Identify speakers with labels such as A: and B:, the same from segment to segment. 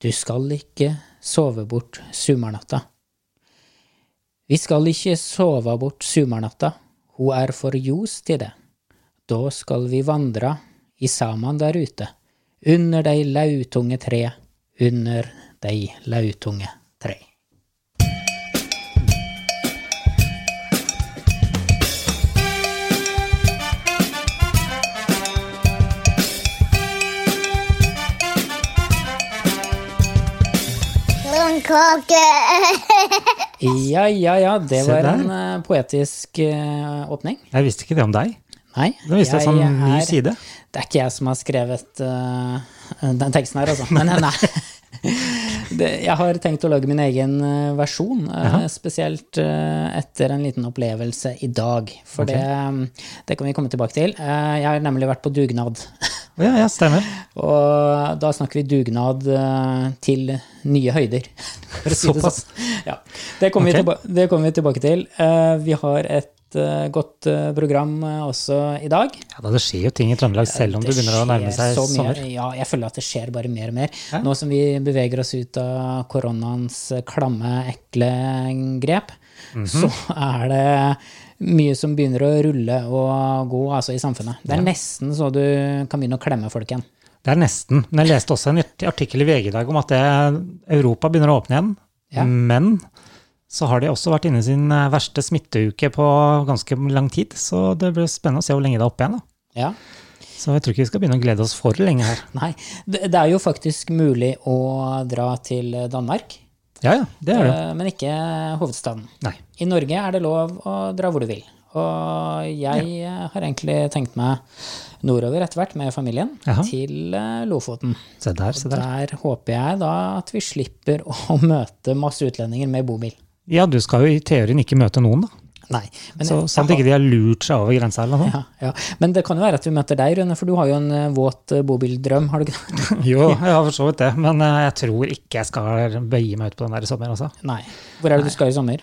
A: Du skal ikke sove bort sumarnatta. Vi skal ikke sove bort sumarnatta, hun er for ljos til det. Da skal vi vandra i saman der ute, under dei lautunge tre, under dei lautunge tre.
B: Blomkåke!
A: Ja, ja, ja, det
C: Se
A: var
C: der.
A: en eh, poetisk eh, åpning.
C: Jeg visste ikke det om deg.
A: Nei,
C: Nå visste jeg sånn ny side.
A: Det er ikke jeg som har skrevet eh, den teksten her, altså. Men eh, nei. Det, jeg har tenkt å lage min egen eh, versjon, eh, spesielt eh, etter en liten opplevelse i dag. For det, mm, det kan vi komme tilbake til. Eh, jeg har nemlig vært på dugnad.
C: Å Ja, ja, stemmer.
A: Og da snakker vi dugnad eh, til nye høyder. For å si det
C: Såpass.
A: sånn. Ja. Det kommer vi
C: Ok.
A: tilba- det kommer vi tilbake til. Eh, vi har et eh, godt eh, program eh, også i dag.
C: Ja, da, det skjer jo ting i Trøndelag selv om det, begynner å nærme
A: skjer
C: seg
A: så mye.
C: sommer.
A: Ja, jeg føler at det skjer bare mer og mer.
C: Ja.
A: Nå som vi beveger oss ut av koronaens klamme, ekle grep,
C: Mhm.
A: så er det mye som begynner å rulle og gå altså, i samfunnet. Det er nesten så du kan begynne å klemme folk igjen.
C: Det er nesten. Men jeg leste også en art- artikkel i VG i dag om at det, Europa begynner å åpne igjen.
A: Ja.
C: Men så har de også vært inne i sin eh, verste smitteuke på ganske lang tid. Så det blir spennende å se hvor lenge det er oppe igjen. da.
A: Ja.
C: Så jeg tror ikke vi skal begynne å glede oss for lenge her.
A: Nei. Det, det er jo faktisk mulig å dra til Danmark,
C: Ja, ja, det er det. jo.
A: eh, men ikke hovedstaden.
C: Nei.
A: I Norge er det lov å dra hvor du vil. Og jeg eh, har egentlig tenkt meg nordover etter hvert med familien,
C: Jaha.
A: til eh, Lofoten.
C: Se der, se der.
A: Der håper jeg da at vi slipper å møte masse utlendinger med bobil.
C: Ja, du skal jo i teorien ikke møte noen, da.
A: Nei, men,
C: Så
A: jeg-
C: sant ikke de har lurt seg over grensa eller noe.
A: ja, ja. men det kan jo være at vi møter deg, Rune, for du har jo en eh, våt eh, bobildrøm, har du ikke det?
C: Jo, jeg har for så vidt det, men eh, jeg tror ikke jeg skal bøye meg ut på den der i sommer, altså.
A: Nei. Hvor er det du skal i sommer?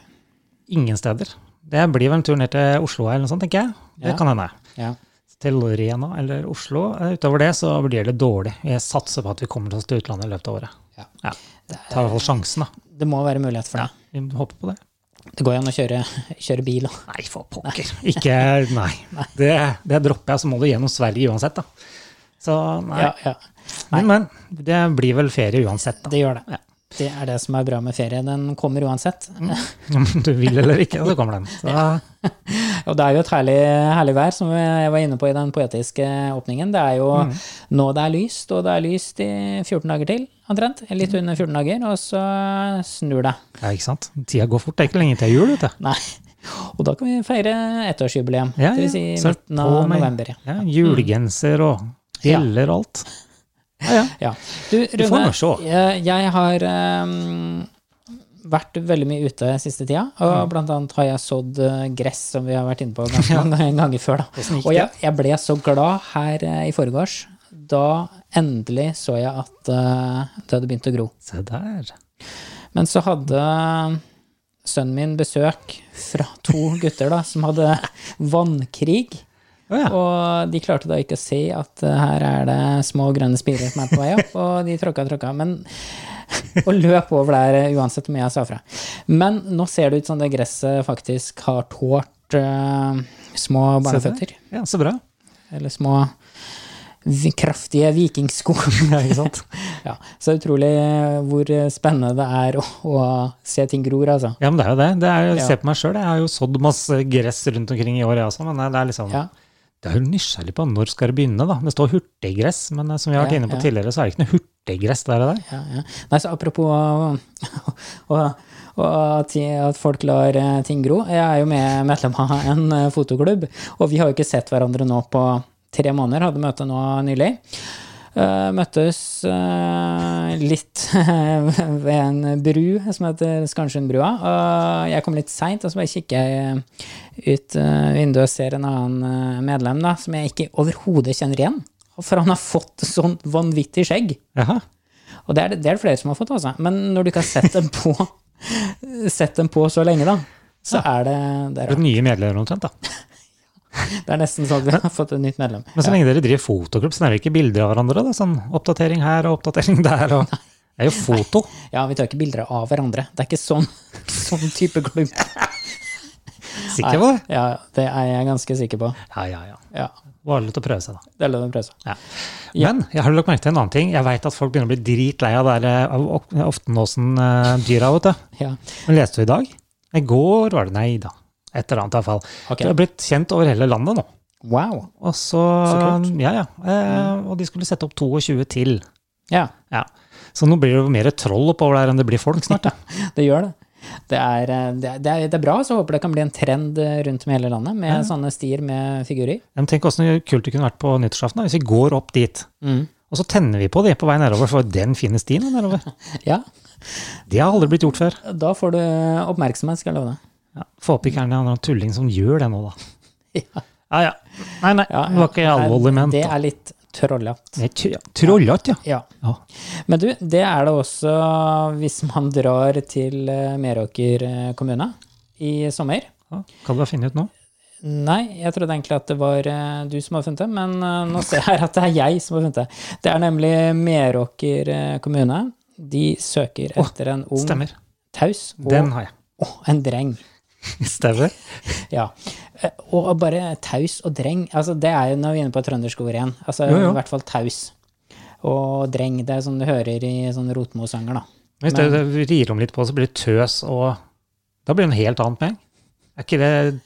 C: Ingen steder. Det blir vel en tur ned til Oslo eller noe sånt, tenker jeg. Det
A: Ja.
C: kan hende.
A: Ja.
C: Til Rena eller Oslo. Eh, Utover det så blir det dårlig. Jeg satser på at vi kommer oss til utlandet i løpet av året.
A: Ja.
C: Ja. Tar i hvert fall sjansen, da.
A: Det må være mulighet for det.
C: Vi håper på det.
A: Det går jo an å kjøre, kjøre bil òg.
C: Nei, for pokker. Ikke Nei. Det, det dropper jeg, så må du gjennom Sverige uansett, da. Så nei.
A: Ja, ja.
C: Men, men det blir vel ferie uansett, da.
A: Det gjør det. Det er det som er bra med ferie. Den kommer uansett.
C: Om du vil eller ikke, så kommer den. Så,
A: Og det er jo et herlig, herlig vær, som jeg var inne på i den poetiske åpningen. Det er jo
C: Mm.
A: nå det er lyst, og det er lyst i 14 dager til, omtrent. Litt under 14 dager, og så snur det.
C: ja, ikke sant? Tida går fort. Det er ikke lenge til jul, vet du.
A: Nei. Og da kan vi feire ettårsjubileum,
C: Ja,
A: dvs. Si
C: ja. Så
A: midten
C: på
A: av
C: meg.
A: november. ja.
C: Ja, julegenser og
A: Mm. Ja.
C: gjeller og alt.
A: Ja. Du,
C: får
A: Rune,
C: nå se.
A: jeg, jeg har ehm, vært veldig mye ute siste tida, og
C: Mm.
A: blant annet har jeg sådd eh, gress, som vi har vært inne på ganske mange ganger før. Da.
C: Hvordan gikk
A: Og jeg, jeg ble så glad her eh, i forgårs. Da endelig så jeg at eh, det hadde begynt å gro.
C: Se der.
A: Men så hadde eh, sønnen min besøk fra to gutter da, som hadde vannkrig.
C: Å ja.
A: Og de klarte da ikke å se at eh, her er det små grønne spirer som er på vei opp, og de tråkka og tråkka, men og løp over der eh, uansett hvor mye jeg sa fra. Men nå ser det ut som det gresset faktisk har tålt eh, små
C: Se der.
A: barneføtter.
C: Ja, så bra.
A: Eller små vi- kraftige vikingsko.
C: Ja, ikke sant?
A: ja, så utrolig eh, hvor eh, spennende det er å, å se ting gror, altså.
C: Ja, men det er jo det. det er, jo-
A: Ja.
C: Se på meg sjøl, jeg har jo sådd masse gress rundt omkring i år, jeg også, men det er liksom
A: Ja.
C: Det er jo nysgjerrig på når skal det begynne, da. Det står hurtiggress, men eh, som vi har vært
A: Ja,
C: inne på
A: ja.
C: tidligere, så er det ikke noe hurtiggress der og der.
A: Ja, ja. Nei, så apropos å- å- å- at at folk lar eh, ting gro. Jeg er jo med medlem av en eh, fotoklubb, og vi har jo ikke sett hverandre nå på tre måneder. Hadde møte nå nylig. Eh, Møttes eh, litt ved en bru som heter Skansenbrua. Og jeg kom litt seint, og så bare kikker jeg ut eh, vinduet og ser en annen eh, medlem da, som jeg ikke overhodet kjenner igjen. For han har fått sånn vanvittig skjegg.
C: Jaha.
A: Og det er det, det er det flere som har fått, altså. Men når du ikke har sett dem på, sett dem på så lenge, da, så er det det
C: Det
A: er,
C: er nye medlemmer omtrent, da.
A: det er nesten sånn at vi har fått et nytt medlem.
C: Men så lenge dere driver fotoklubb, så er det ikke bilder av hverandre, da. Sånn oppdatering her og oppdatering der og Det er jo foto.
A: Ja, vi tar ikke bilder av hverandre. Det er ikke sånn, sånn type klubb.
C: Sikker på det?
A: Ja, det er jeg ganske sikker på.
C: Ja, ja, ja.
A: Ja,
C: Bare lov til å prøve seg, da.
A: Det er lov å prøve seg.
C: Ja. Men jeg har lagt merke til en annen ting. Jeg veit at folk begynner å bli dritlei av det der, eh, av ok- Oftenåsen-dyra. vet du.
A: Ja.
C: Men leste du i dag? I går var det Nei da. Et eller annet iallfall.
A: Ok.
C: Det har blitt kjent over hele landet nå.
A: Wow.
C: Og så,
A: Så
C: ja, ja. Eh, og de skulle sette opp 22 til.
A: Ja,
C: Ja. Så nå blir det jo mer troll oppover der enn det blir folk snart. Da.
A: det gjør det. Det er, eh, det er, det er, det er bra, så jeg håper det kan bli en trend eh, rundt om i hele landet med sånne stier med figurer.
C: Men tenk hvordan kult det kunne vært på nyttårsaften da, hvis vi går opp dit. Og så tenner vi på de på vei nedover, for den fine stien er nedover.
A: Ja,
C: Det har aldri blitt gjort før.
A: da får du oppmerksomhet, skal jeg love deg.
C: Ja, Få opp i kjernen en annen tulling som gjør det nå, da.
A: Ja.
C: Ja, ja. Nei, nei,
A: Ja,
C: det var ikke alvorlig ment.
A: Det
C: da.
A: er litt trollete.
C: Nei, tj- ja, Trollete, ja.
A: Ja.
C: ja.
A: Men du, det er det også hvis man drar til eh, Meråker eh, kommune i sommer.
C: ja. Kan du ha funnet ut nå?
A: Nei, jeg trodde egentlig at det var eh, du som har funnet det, men eh, nå ser jeg at det er jeg som har funnet det. Det er nemlig Meråker eh, kommune. De søker
C: Åh,
A: etter en ung,
C: Stemmer.
A: taus og
C: Den har jeg.
A: Åh, en dreng.
C: Stemmer.
A: Ja. Eh, Og bare taus og dreng, altså det er jo når vi er inne på trønderskord igjen. Altså
C: Jo, jo.
A: i hvert fall taus og dreng. Det er sånn du hører i sånne Rotmo-sanger, da.
C: Hvis det det rir om litt på, så blir det tøs og Da blir det en helt annen peng. Er ikke det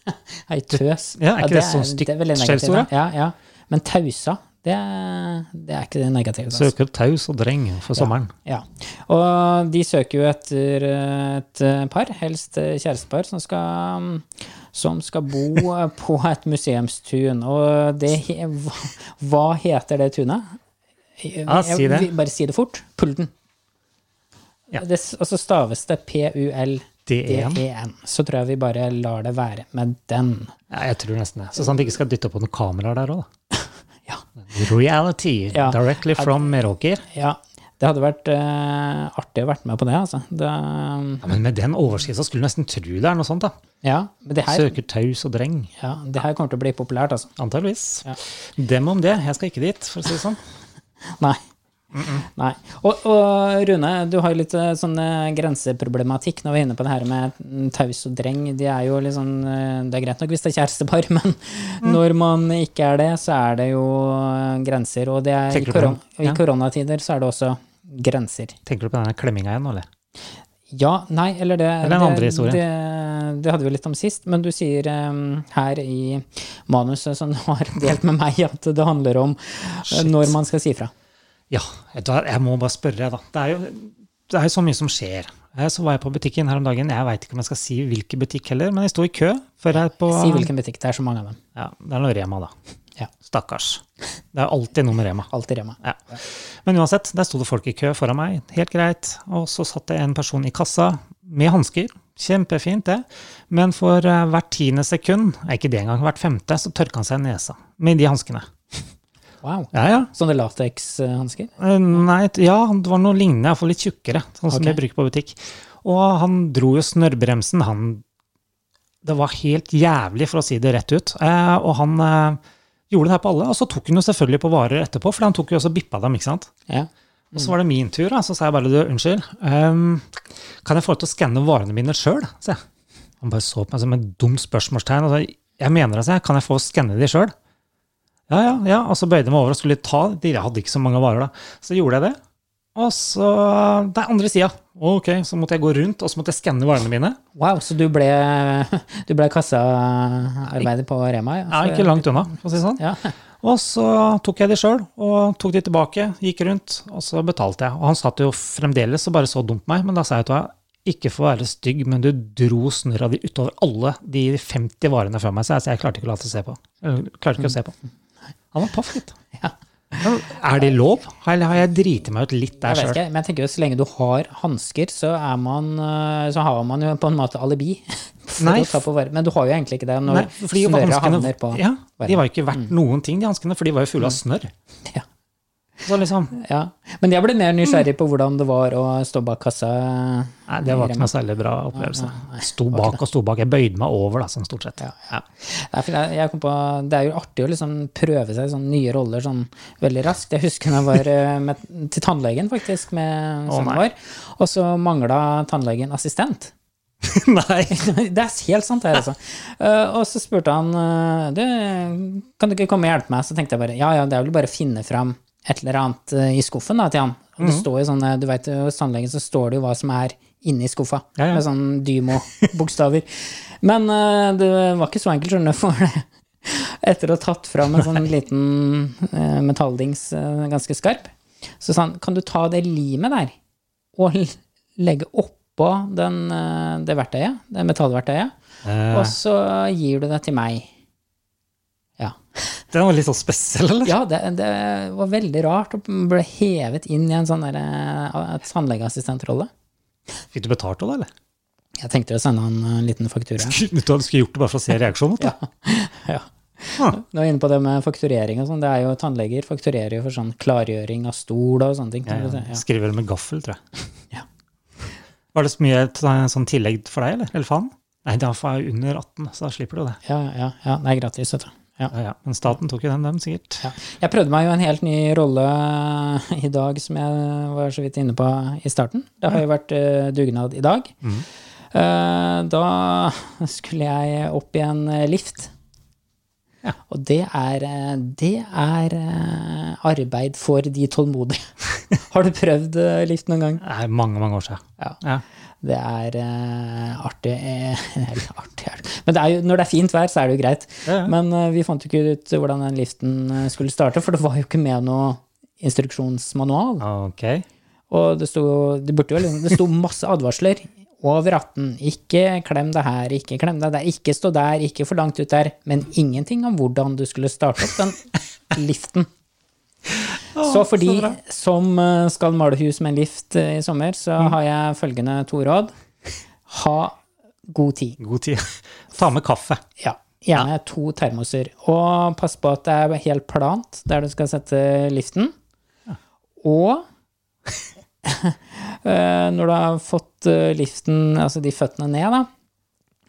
A: Ei tøs.
C: Ja, er ikke det sånn
A: det er veldig
C: stygt
A: negativt, da.
C: skjellsord,
A: Ja, ja. Men tausa, det er, det er ikke det negative. altså.
C: Søker taus og dreng for sommeren.
A: Ja, og de søker jo etter eh, et par, helst eh, kjærestepar, som skal, mm, som skal bo eh, på et museumstun. Og det, he- hva- hva heter det tunet?
C: Ja, si det.
A: Jeg vil Bare si det fort. Pulden.
C: Ja.
A: Det, og så staves det P-U-L-D-E-N.
C: Det er en.
A: E Så tror jeg vi bare lar det være med den.
C: Ja, jeg tror nesten det. Så sånn at de ikke skal dytte på noen kameraer der òg, da.
A: Ja.
C: Reality
A: Ja.
C: directly from Meråker.
A: Ja, det hadde vært eh, artig å vært med på det, altså. Det,
C: Ja, men med den overskriften skulle du nesten tro det er noe sånt, da.
A: ja, men det her,
C: Søker taus og dreng.
A: ja, det her kommer til å bli populært, altså.
C: Antageligvis.
A: Ja.
C: Dem om det. Jeg skal ikke dit, for å si det sånn.
A: Nei. Nei. Og, og Rune, du har jo litt eh, sånn eh, grenseproblematikk når vi er inne på det her med mm, taus og dreng. De er jo litt sånn, eh, det er greit nok hvis det er kjærestepar, men
C: Mm.
A: når man ikke er det, så er det jo eh, grenser. Og det er, i,
C: Tenker du på
A: koron
C: den?
A: i
C: Ja.
A: koronatider så er det også grenser.
C: Tenker du på denne klemminga igjen, nå, eller?
A: Ja, nei, eller det
C: den
A: det-
C: andre historien.
A: Det, det hadde vi litt om sist, men du sier eh, her i manuset som du har delt med meg, at det handler om eh,
C: Shit.
A: når man skal si fra.
C: Ja, vet du hva, jeg må bare spørre, da. Det er jo, det er jo så mye som skjer. Eh, Så var jeg på butikken her om dagen. Jeg veit ikke om jeg skal si hvilken butikk heller, men jeg sto i kø. Før jeg på,
A: Si hvilken butikk det er, så mange av dem.
C: Ja, det er noe Rema, da.
A: Ja.
C: Stakkars. Det er alltid noe med Rema.
A: Alltid Rema.
C: Ja. Men uansett, der sto det folk i kø foran meg. Helt greit. Og så satt det en person i kassa med hansker. Kjempefint, det. Men for eh, hvert tiende sekund, nei, ikke det engang, hvert femte, så tørka han seg i nesa med de hanskene.
A: Wow.
C: Ja, ja.
A: Sånne latekshansker?
C: Eh, Nei, t- ja, det var noe lignende, iallfall litt tjukkere, sånn som
A: Ok.
C: jeg bruker på butikk. Og han dro jo snørrbremsen, han Det var helt jævlig, for å si det rett ut. Eh, og han eh, gjorde det her på alle, og så tok han jo selvfølgelig på varer etterpå, for han tok jo også bippa dem, ikke sant.
A: Ja.
C: Og så var det min tur, da, så sa jeg bare du, unnskyld, ehm, kan jeg få lov til å skanne varene mine sjøl? sa jeg. Han bare så på meg som et dumt spørsmålstegn. og sa, Jeg mener det, sa jeg, kan jeg få skanne de sjøl? Ja, ja, ja. Og så bøyde jeg meg over og skulle ta de. Jeg hadde ikke så mange varer, da. Så gjorde jeg det. Og så Det er andre sida. Ok, så måtte jeg gå rundt, og så måtte jeg skanne varene mine.
A: Wow, så du ble, du ble kassaarbeider på Rema? Ja,
C: Jeg er ikke langt unna, for å si det sånn.
A: Altså, Ja.
C: Og så tok jeg de sjøl, og tok de tilbake, gikk rundt, og så betalte jeg. Og han satt jo fremdeles og bare så dumt på meg, men da sa jeg til ham ikke for å være stygg, men du dro snørra di utover alle de 50 varene før meg, så jeg, så jeg klarte ikke å la det se på. Eller, klarte ikke å se på. Han var paff litt. Men Er det lov? Eller har jeg driti meg ut litt
A: Jeg
C: der
A: vet
C: sjøl?
A: ikke, men jeg tenker jo så lenge du har hansker, så, er man, eh, så har man jo på en måte alibi. for
C: Nei,
A: å ta på varer. Men du har jo egentlig ikke det når
C: Nei, fordi
A: snøret
C: hanskene
A: havner på
C: ja,
A: varene. Mm.
C: De var jo ikke verdt noen ting, de hanskene, for de var jo fulle av snørr.
A: Ja.
C: Så liksom,
A: Ja. Men jeg ble
C: Mm.
A: mer nysgjerrig på hvordan det var å stå bak kassa.
C: nei, Det var ikke noe særlig bra opplevelse. Sto bak og sto bak. Jeg bøyde meg over, da, sånn stort sett. Ja.
A: Nei, for jeg- jeg kom på, det er jo artig å liksom prøve seg i sånne nye roller sånn veldig raskt. Jeg husker når jeg var eh, med, til tannlegen, faktisk, med
C: Å,
A: sønnen
C: nei.
A: vår, og så mangla tannlegen assistent.
C: Nei.
A: Det er helt sant, det her, altså. Eh, og så spurte han eh, du, Kan du ikke komme og hjelpe meg? Så tenkte jeg bare ja, ja, det er vel bare å finne fram et eller annet eh, i skuffen da, til han. Og
C: Mhm.
A: det står jo sånn, eh, du vet, jo, Hos tannlegen så står det jo hva som er inni skuffa,
C: Ja, ja.
A: med sånn Dymo-bokstaver. Men eh, det var ikke så enkelt, skjønner du, for det. Etter å ha tatt fram en sånn liten eh, metalldings, eh, ganske skarp, så sa han kan du ta det limet der og l- legge oppå den, eh, det verktøyet, det metallverktøyet, og
C: Eh,
A: så gir du det til meg. Ja.
C: den var litt sånn spesiell, eller?
A: Ja, det, det var veldig rart og ble hevet inn i en sånn der, eh, et tannlegeassistentrolle.
C: Fikk du betalt av det, eller?
A: Jeg tenkte å sende han en liten faktura.
C: Du skulle gjort det bare for å se reaksjonen? vet du.
A: Ja.
C: Ah.
A: Du var inne på det med fakturering og sånn. Det er jo Tannleger fakturerer jo for sånn klargjøring av stol og sånne ting.
C: Ja, ja.
A: Ja.
C: Skriver det med gaffel, tror jeg.
A: Ja.
C: Var det så mye t- sånn tillegg for deg, eller? Eller faen? Nei, da er jeg under 18, så da slipper du det.
A: Ja, ja, ja. Det er gratis, vet du. Ja.
C: Ja, ja. Men staten tok jo den, dem, sikkert.
A: Ja. Jeg prøvde meg jo en helt ny rolle eh, i dag, som jeg var så vidt inne på i starten. Det har jo vært eh, dugnad i dag. Eh, da skulle jeg opp i en eh, lift.
C: Ja.
A: Og det er, eh, det er eh, arbeid for de tålmodige. har du prøvd eh, lift noen gang?
C: Det er mange, mange år siden.
A: Ja.
C: Ja.
A: Det er eh, artig. eh, eller artig er det. Men det er jo, når det er fint vær, så er det jo greit.
C: Ja, ja.
A: Men eh, vi fant jo ikke ut hvordan den liften eh, skulle starte, for det var jo ikke med noe instruksjonsmanual.
C: Ok.
A: Og det sto, det burde jo, liksom- det sto masse advarsler over 18. Ikke klem det her, ikke klem det der, ikke stå der, ikke for langt ut der. Men ingenting om hvordan du skulle starte opp den liften. Så for de som eh, skal male hus med en lift eh, i sommer, så
C: Mm.
A: har jeg følgende to råd. Ha god tid.
C: God tid. Ta med kaffe.
A: Ja. Gjerne to termoser. Og pass på at det er helt plant der du skal sette liften. Og eh, når du har fått eh, liften, altså de føttene ned, da,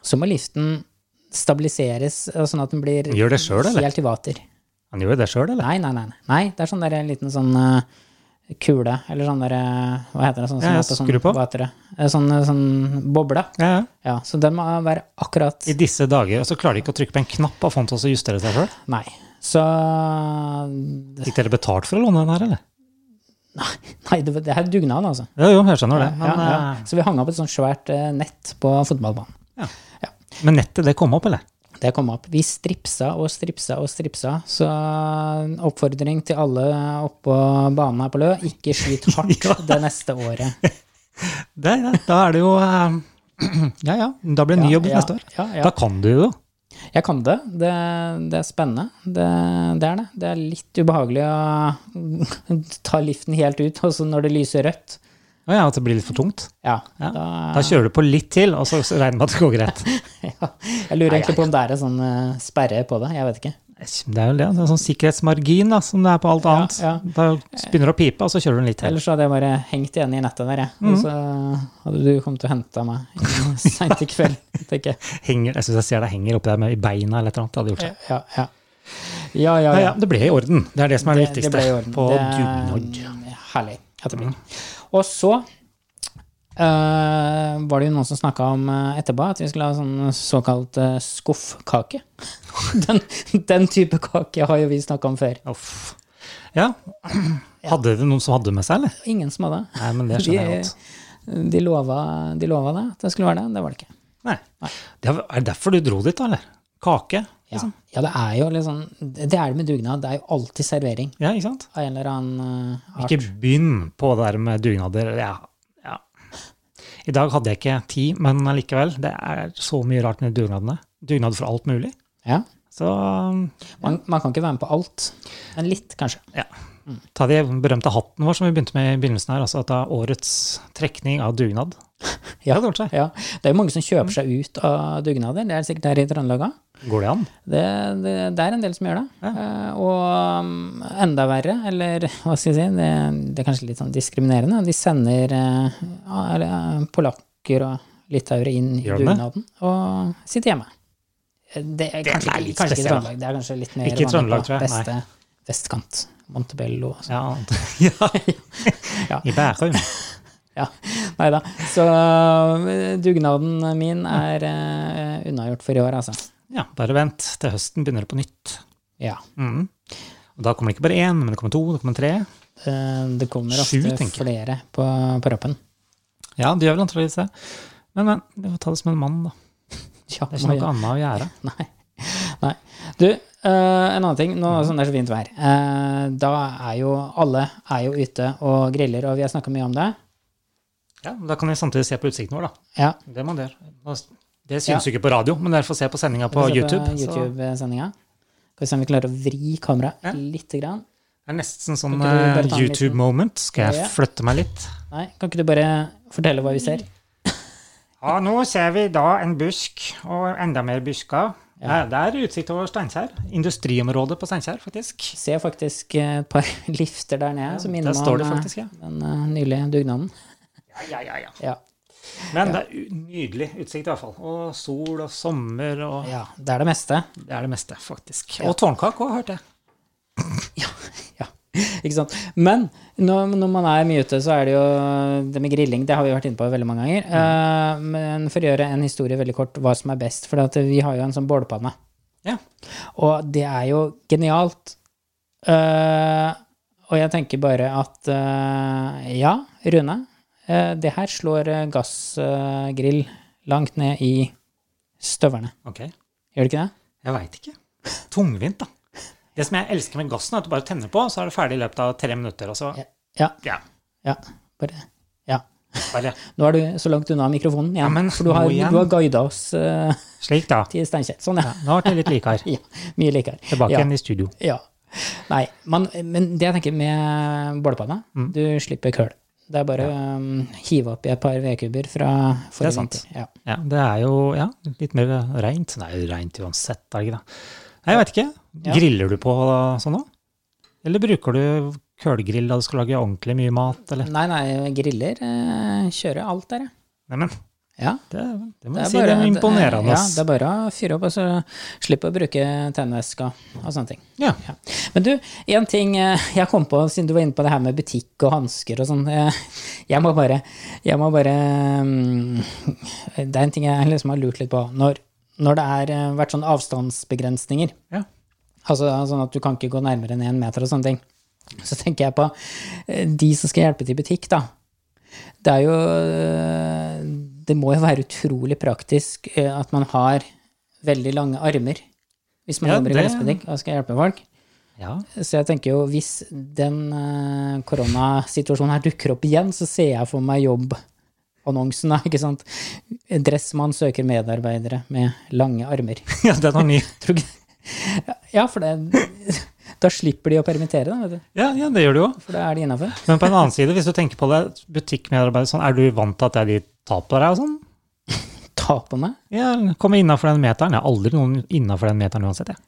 A: så må liften stabiliseres eh, sånn at den blir
C: Gjør det selv, eller?
A: helt i vater.
C: Han gjør jo det sjøl, eller?
A: Nei, nei, nei. nei. nei det er sånn der en liten sånn eh, kule, eller sånn der eh, Hva heter det? Sånn, som
C: Ja, ja,
A: er på sånn,
C: skru på.
A: Hva heter det? Eh, Sånn, eh, sånn boble.
C: Ja, ja.
A: Ja, så den må være akkurat
C: I disse dager og så klarer de ikke å trykke på en knapp av fontet og så justere seg sjøl.
A: Nei. Så
C: Fikk dere betalt for å låne den her, eller?
A: Nei, det, det er dugnad, altså.
C: Jo, jo, jeg skjønner det. Men,
A: ja, ja.
C: eh,
A: Så vi hang opp et sånt svært eh, nett på fotballbanen.
C: men nettet, det kom opp, eller?
A: Det kom opp. Vi stripsa og stripsa og stripsa, så eh, oppfordring til alle oppå banen her på Lø, ikke skyt hardt
C: Ja.
A: det neste året.
C: Det, ja. Da er det jo eh, Ja, ja. Da blir det ny
A: Ja,
C: jobb
A: ja,
C: neste år.
A: ja, ja.
C: Da kan du jo.
A: Jeg kan det. Det, det er spennende. Det, det er det. Det er litt ubehagelig å ta liften helt ut, og så når det lyser rødt.
C: Å ja, at det blir litt for tungt.
A: Ja,
C: Ja.
A: da
C: Da kjører du på litt til, og så regner med at det går greit.
A: ja. Jeg lurer egentlig på om det er en sånn eh, sperre på det. Jeg vet ikke.
C: Det er jo det. Det er sånn sikkerhetsmargin da, som det er på alt annet.
A: ja.
C: Da begynner det å pipe, og så kjører du den litt til.
A: Ellers så hadde jeg bare hengt igjen i nettet der, jeg. Og så hadde du kommet og henta meg seint i kveld, tenker jeg.
C: Henger, jeg syns jeg ser deg henger oppi der med i beina eller et eller annet. Det hadde gjort seg.
A: Ja, ja. Ja, ja,
C: Ja,
A: ja.
C: ja, det ble i orden. Det er det som er det,
A: Det-
C: viktigste.
A: Det ble i orden.
C: På
A: Det er
C: dugnad. Mm.
A: Herlig. at det blir. Og så eh, var det jo noen som snakka om eh, etterpå at vi skulle ha sånn såkalt eh, skuffkake. den, den type kake har jo vi snakka om før.
C: Uff. Ja. Hadde det noen som hadde med seg, eller?
A: Ingen som hadde.
C: Nei, men det skjønner jeg godt.
A: De lova, de lova det, at det skulle være det. Det var det ikke.
C: Nei. Det er er det derfor du dro dit, da, eller? Kake?
A: Ja, ja det er jo liksom Det det er det med dugnad. Det er jo alltid servering
C: Ja, ikke sant?
A: av en eller annen eh, art.
C: Ikke begynn på det der med dugnader. Ja. ja. I dag hadde jeg ikke tid, men allikevel. Det er så mye rart med dugnadene. Dugnad for alt mulig.
A: Ja.
C: Så um,
A: Man, man kan ikke være med på alt, men litt, kanskje.
C: ja. Ta de berømte hatten vår som vi begynte med i begynnelsen her. Altså at det er årets trekning av dugnad.
A: Ja.
C: Det hadde vært seg.
A: Ja, det er jo mange som kjøper seg ut av dugnader. Det er sikkert her i Trøndelag òg.
C: Går det an?
A: Det, det, det er en del som gjør det. Eh, og um, enda verre, eller hva skal jeg si, det, det er kanskje litt sånn diskriminerende, de sender eh, ja, eller, eh, polakker og litauere inn i
C: Gjør de det?
A: dugnaden og sitter hjemme. Eh, Det er
C: Den
A: kanskje,
C: er
A: ikke-
C: litt
A: kanskje ikke
C: spesiell, da.
A: Trøndelag, det er kanskje litt mer
C: Ikke i
A: vanlig
C: Trøndelag,
A: på
C: tror jeg, nei.
A: Beste vestkant. Montebello og sånn.
C: Ja. ja.
A: Ja. Ja,
C: I Bærum.
A: nei da. Så eh, dugnaden min er eh, unnagjort for i år, altså.
C: Ja, bare vent. Til høsten begynner det på nytt.
A: Ja.
C: Mm. Og da kommer det ikke bare én, men det kommer to, det kommer tre.
A: Eh, Det kommer ofte
C: Sju, tenker
A: flere på, på rappen.
C: Ja, det gjør vel antakeligvis det. Men, men, vi får ta det som en mann, da.
A: Ja,
C: Det er ikke noe annet å gjøre.
A: Nei. Nei. Du, eh, en annen ting. Nå
C: Mhm.
A: som det er så fint vær, eh, da er jo alle er jo ute og griller, og vi har snakka mye om det.
C: Ja, men Da kan vi samtidig se på utsikten vår, da.
A: Ja.
C: Det man gjør. Det syns jo ikke på radio, men dere får se på sendinga på
A: Vi ser
C: YouTube.
A: På
C: Så
A: YouTube-sendinga. Skal vi se om vi klarer å vri kameraet
C: Ja.
A: lite grann.
C: det er nesten sånn
A: Kan ikke du bare
C: eh,
A: ta en liten-
C: YouTube-moment. Skal
A: Ja, ja.
C: jeg flytte meg litt?
A: Nei, kan ikke du bare fortelle hva vi ser?
C: Ja, nå ser vi da en busk og enda mer busker. Ja. Det er utsikt over Steinkjer. Industriområdet på Steinkjer, faktisk.
A: Ser faktisk eh, et par lifter der nede som minner
C: der står det
A: eh,
C: faktisk, ja.
A: den eh, nylige dugnaden.
C: Ja, ja, ja, ja.
A: Ja.
C: Men det er u- nydelig utsikt, i hvert fall. Og sol og sommer og
A: ja. Det er det meste.
C: Det er det meste, faktisk. Og tårnkake òg, hørte jeg.
A: Ja, ikke sant. Men når, når man er mye ute, så er det jo det med grilling. Det har vi vært inne på veldig mange ganger. Eh, men for å gjøre en historie veldig kort, hva som er best. For at vi har jo en sånn bålpanne.
C: Ja.
A: Og det er jo genialt. Eh, og jeg tenker bare at eh, ja, Rune, eh, det her slår gassgrill langt ned i støverne.
C: Ok.
A: Gjør det ikke det?
C: Jeg veit ikke. Tungvint, da. Det som jeg elsker med gassen, er at du bare tenner på, så er det ferdig i løpet av tre minutter. Og så
A: Ja.
C: Ja.
A: ja. Bare Ja.
C: Bare
A: Nå er du så langt unna mikrofonen igjen,
C: Ja, men
A: for du har,
C: nå igjen.
A: du har guida oss eh,
C: slik, da.
A: til Steinkjer. Sånn, ja.
C: Nå ble det litt likere.
A: ja. Mye likere.
C: Tilbake
A: ja.
C: igjen i studio.
A: Ja. Nei, man, men det jeg tenker med bålpanne,
C: Mm.
A: du slipper køl. Det er bare å um, hive oppi et par vedkubber fra forrige
C: sant.
A: vinter. Ja.
C: Ja, det er jo ja, litt mer reint. Nei, reint uansett, er det ikke det? Nei, jeg veit ikke.
A: Ja.
C: Griller du på sånn òg? Eller bruker du kølgrill da du skal lage ordentlig mye mat, eller?
A: Nei, nei, griller eh, kjører alt der, ja.
C: Neimen,
A: ja.
C: det, det må jeg si det er imponerende.
A: Ja,
C: ass.
A: det er bare å fyre opp, og så slippe å bruke tennvæska og sånne ting.
C: Ja.
A: Ja. Men du, en ting eh, jeg kom på, siden du var inne på det her med butikk og hansker og sånn. eh, Jeg må bare, jeg må bare mm, Det er en ting jeg liksom har lurt litt på. Når, når det har vært sånn avstandsbegrensninger,
C: Ja.
A: altså sånn at du kan ikke gå nærmere enn én meter og sånne ting, så tenker jeg på eh, de som skal hjelpe til i butikk, da. Det er jo eh, Det må jo være utrolig praktisk eh, at man har veldig lange armer hvis man
C: Ja,
A: jobber i
C: det-
A: gressbutikk og skal hjelpe folk.
C: ja.
A: Så jeg tenker jo, hvis den eh, koronasituasjonen her dukker opp igjen, så ser jeg for meg jobbannonsen, da, ikke sant? Dressmann søker medarbeidere med lange armer.
C: ja, den var ny.
A: Tror ikke Ja, for det Da slipper de å permittere, da, vet du.
C: Ja, ja, det gjør du jo.
A: For da er de innafor.
C: Men på en annen side, hvis du tenker på det, butikkmedarbeidere sånn, er du vant til at det er de tar på deg og sånn?
A: Ta på meg.
C: Ja, komme innafor den meteren. Jeg har aldri noen innafor den meteren uansett, jeg.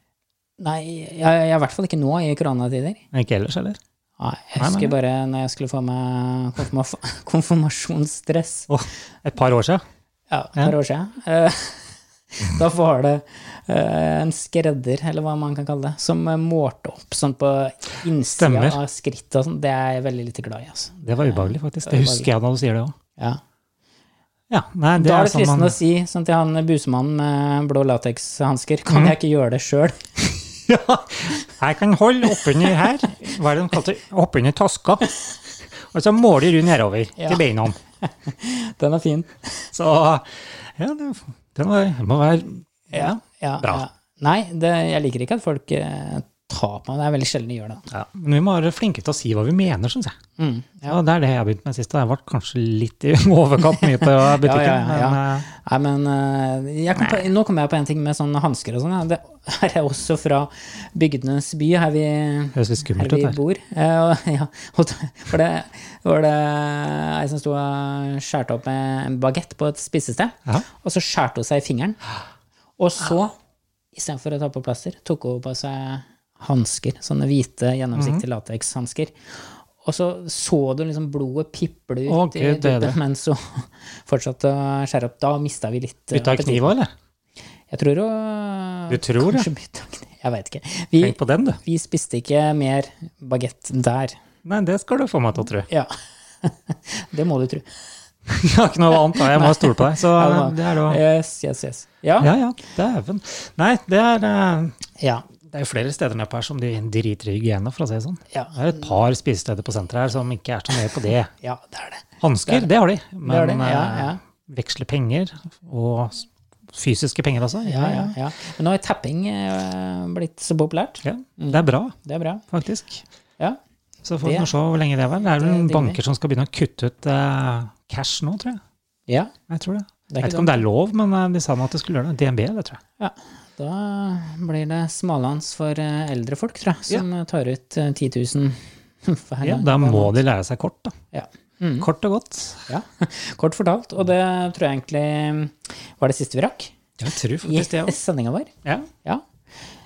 A: Nei, jeg, jeg er i hvert fall ikke nå i koronatider.
C: Men Ikke ellers heller.
A: Nei, jeg
C: Nei, nei,
A: husker
C: nei.
A: bare når jeg skulle få meg konfirma konfirmasjonsdress.
C: Åh, et par år siden.
A: Ja, et par år siden. Eh, Da var det eh, en skredder, eller hva man kan kalle det, som eh, målte opp sånn på innsida
C: Stemmer.
A: av skrittet og sånn. Det er jeg veldig lite glad i, altså.
C: Det var ubehagelig, faktisk.
A: det
C: Det
A: var
C: husker jeg når du sier det òg.
A: Ja.
C: Ja, nei, det
A: da
C: er
A: er det
C: sånn
A: fristende
C: man
A: å si sånn til han busemannen med blå latekshansker
C: Mm.
A: Kan jeg ikke gjøre det sjøl?
C: Ja, jeg kan holde oppunder her. Hva er det de kalte oppunder taska? Og så måler du nedover
A: Ja.
C: til beina.
A: Den er fin.
C: Så ja, det, det må, det må være ja.
A: Ja,
C: Bra.
A: Ja. Nei, det, jeg liker ikke at folk eh, tar på meg. Det er veldig sjelden de gjør det. da.
C: Ja, Men vi må være flinke til å si hva vi mener, syns jeg.
A: Mm.
C: Ja, Det er det jeg har begynt med sist. og Jeg ble kanskje litt i overkant mye på butikken.
A: Ja, ja, ja.
C: Men, eh,
A: Nei, men eh, jeg kom på, nå kommer jeg på en ting med sånne hansker og sånn. Ja. Det her er også fra bygdenes by, her vi,
C: det høres litt
A: her
C: skummelt ut
A: vi
C: her.
A: bor. Eh, og, ja, og da var det, var det ei som sto og skjærte opp med en bagett på et spisested,
C: Ja. Ah.
A: og så skjærte hun seg i fingeren. Og så istedenfor å ta på plaster, tok hun på seg hansker, sånne hvite, gjennomsiktige
C: Mhm.
A: latekshansker. Og så så du liksom blodet piple ut
C: Ok,
A: i
C: det er det.
A: dubben mens hun fortsatte å skjære opp. Da mista vi litt eh,
C: Bytta i
A: appetitten.
C: kniv òg, eller?
A: Jeg tror hun
C: Du tror, ja?
A: kanskje bytta kniv. Jeg veit ikke. Vi,
C: Tenk på den, du.
A: vi spiste ikke mer bagett der.
C: Nei, det skal du få meg til å tro.
A: Ja. Det må du tro.
C: Jeg har ikke noe annet, da. Jeg må stole på deg. Så
A: Ja,
C: det er da
A: Yes, yes, yes. Ja.
C: Ja, ja. Dæven. Nei, det er eh,
A: ja.
C: Det er jo flere steder nedpå her som de driter i hygiene, for å si det sånn.
A: Ja.
C: Det er et par spisesteder på senteret her som ikke er så nøye på det.
A: Ja, det er det.
C: Hansker, det har de,
A: har
C: men
A: de, ja,
C: eh,
A: ja.
C: veksler penger, og s- fysiske penger altså.
A: Ja, ja, ja. Men nå er tapping eh, blitt så populært.
C: Ja, Det er bra,
A: Det er bra.
C: faktisk.
A: Ja.
C: Så får
A: Det-
C: vi nå se hvor lenge det er. vel. Det er
A: det
C: vel noen
A: digger vi.
C: banker som skal begynne å kutte ut eh, cash nå, tror jeg.
A: ja.
C: Jeg tror det.
A: Det er ikke
C: jeg vet ikke om det er lov, men eh, de sa nå at de skulle gjøre det. DNB, det tror jeg.
A: Ja, da blir det smalhans for eh, eldre folk, tror jeg, som tar ut eh, 10 000 hver
C: Ja,
A: gang.
C: da må de lære seg kort, da.
A: Ja. Mm.
C: Kort og godt.
A: ja. Kort fortalt. Og det tror jeg egentlig var det siste vi rakk
C: Jeg tror
A: i
C: faktisk det òg.
A: sendinga vår.
C: Ja.
A: Ja.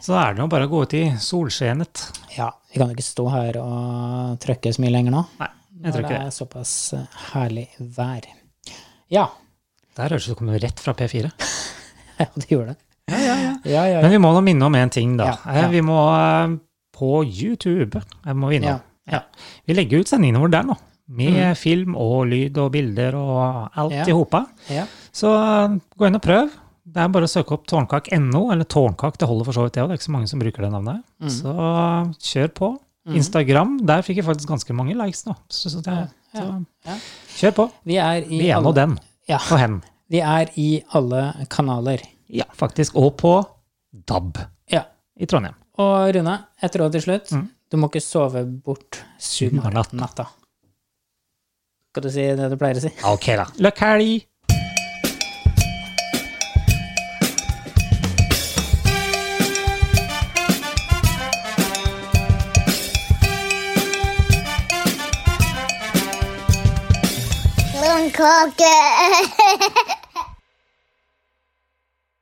C: Så er det jo bare å gå ut i solskinnet.
A: ja. Vi kan jo ikke stå her og trøkke så mye lenger nå.
C: Nei, jeg tror
A: når
C: ikke det.
A: er såpass eh, herlig vær. Ja.
C: Det her høres ut som det kommer rett fra P4.
A: Ja, det gjorde det. Ja, ja, ja.
C: Men vi må nå minne om én ting, da.
A: Ja, ja.
C: Eh, Vi må eh, på YouTube. eh, Må vi, innom.
A: Ja, ja.
C: vi legger ut sendingene våre der nå. Med film og lyd og bilder og alt
A: Ja.
C: i hopa.
A: ja.
C: Så eh, gå inn og prøv. Det er bare å søke opp tårnkak.no, eller Tårnkak. Det holder for så vidt, det òg. Det er ikke så mange som bruker det navnet.
A: Mm.
C: Så eh, kjør på. Instagram, der fikk jeg faktisk ganske mange likes nå. Så, så, det, så
A: Ja.
C: kjør på.
A: Vi er i
C: Vi er nå
A: alle,
C: den.
A: Ja.
C: Og hen.
A: vi er i alle kanaler.
C: Ja, faktisk. Og på DAB
A: Ja.
C: i Trondheim.
A: Og Rune, et råd til slutt.
C: Mm.
A: Du må ikke sove bort sumarnatta. Skal du si det du pleier å si?
C: Ok, da. Løkkhelg!
B: Lone Cocker.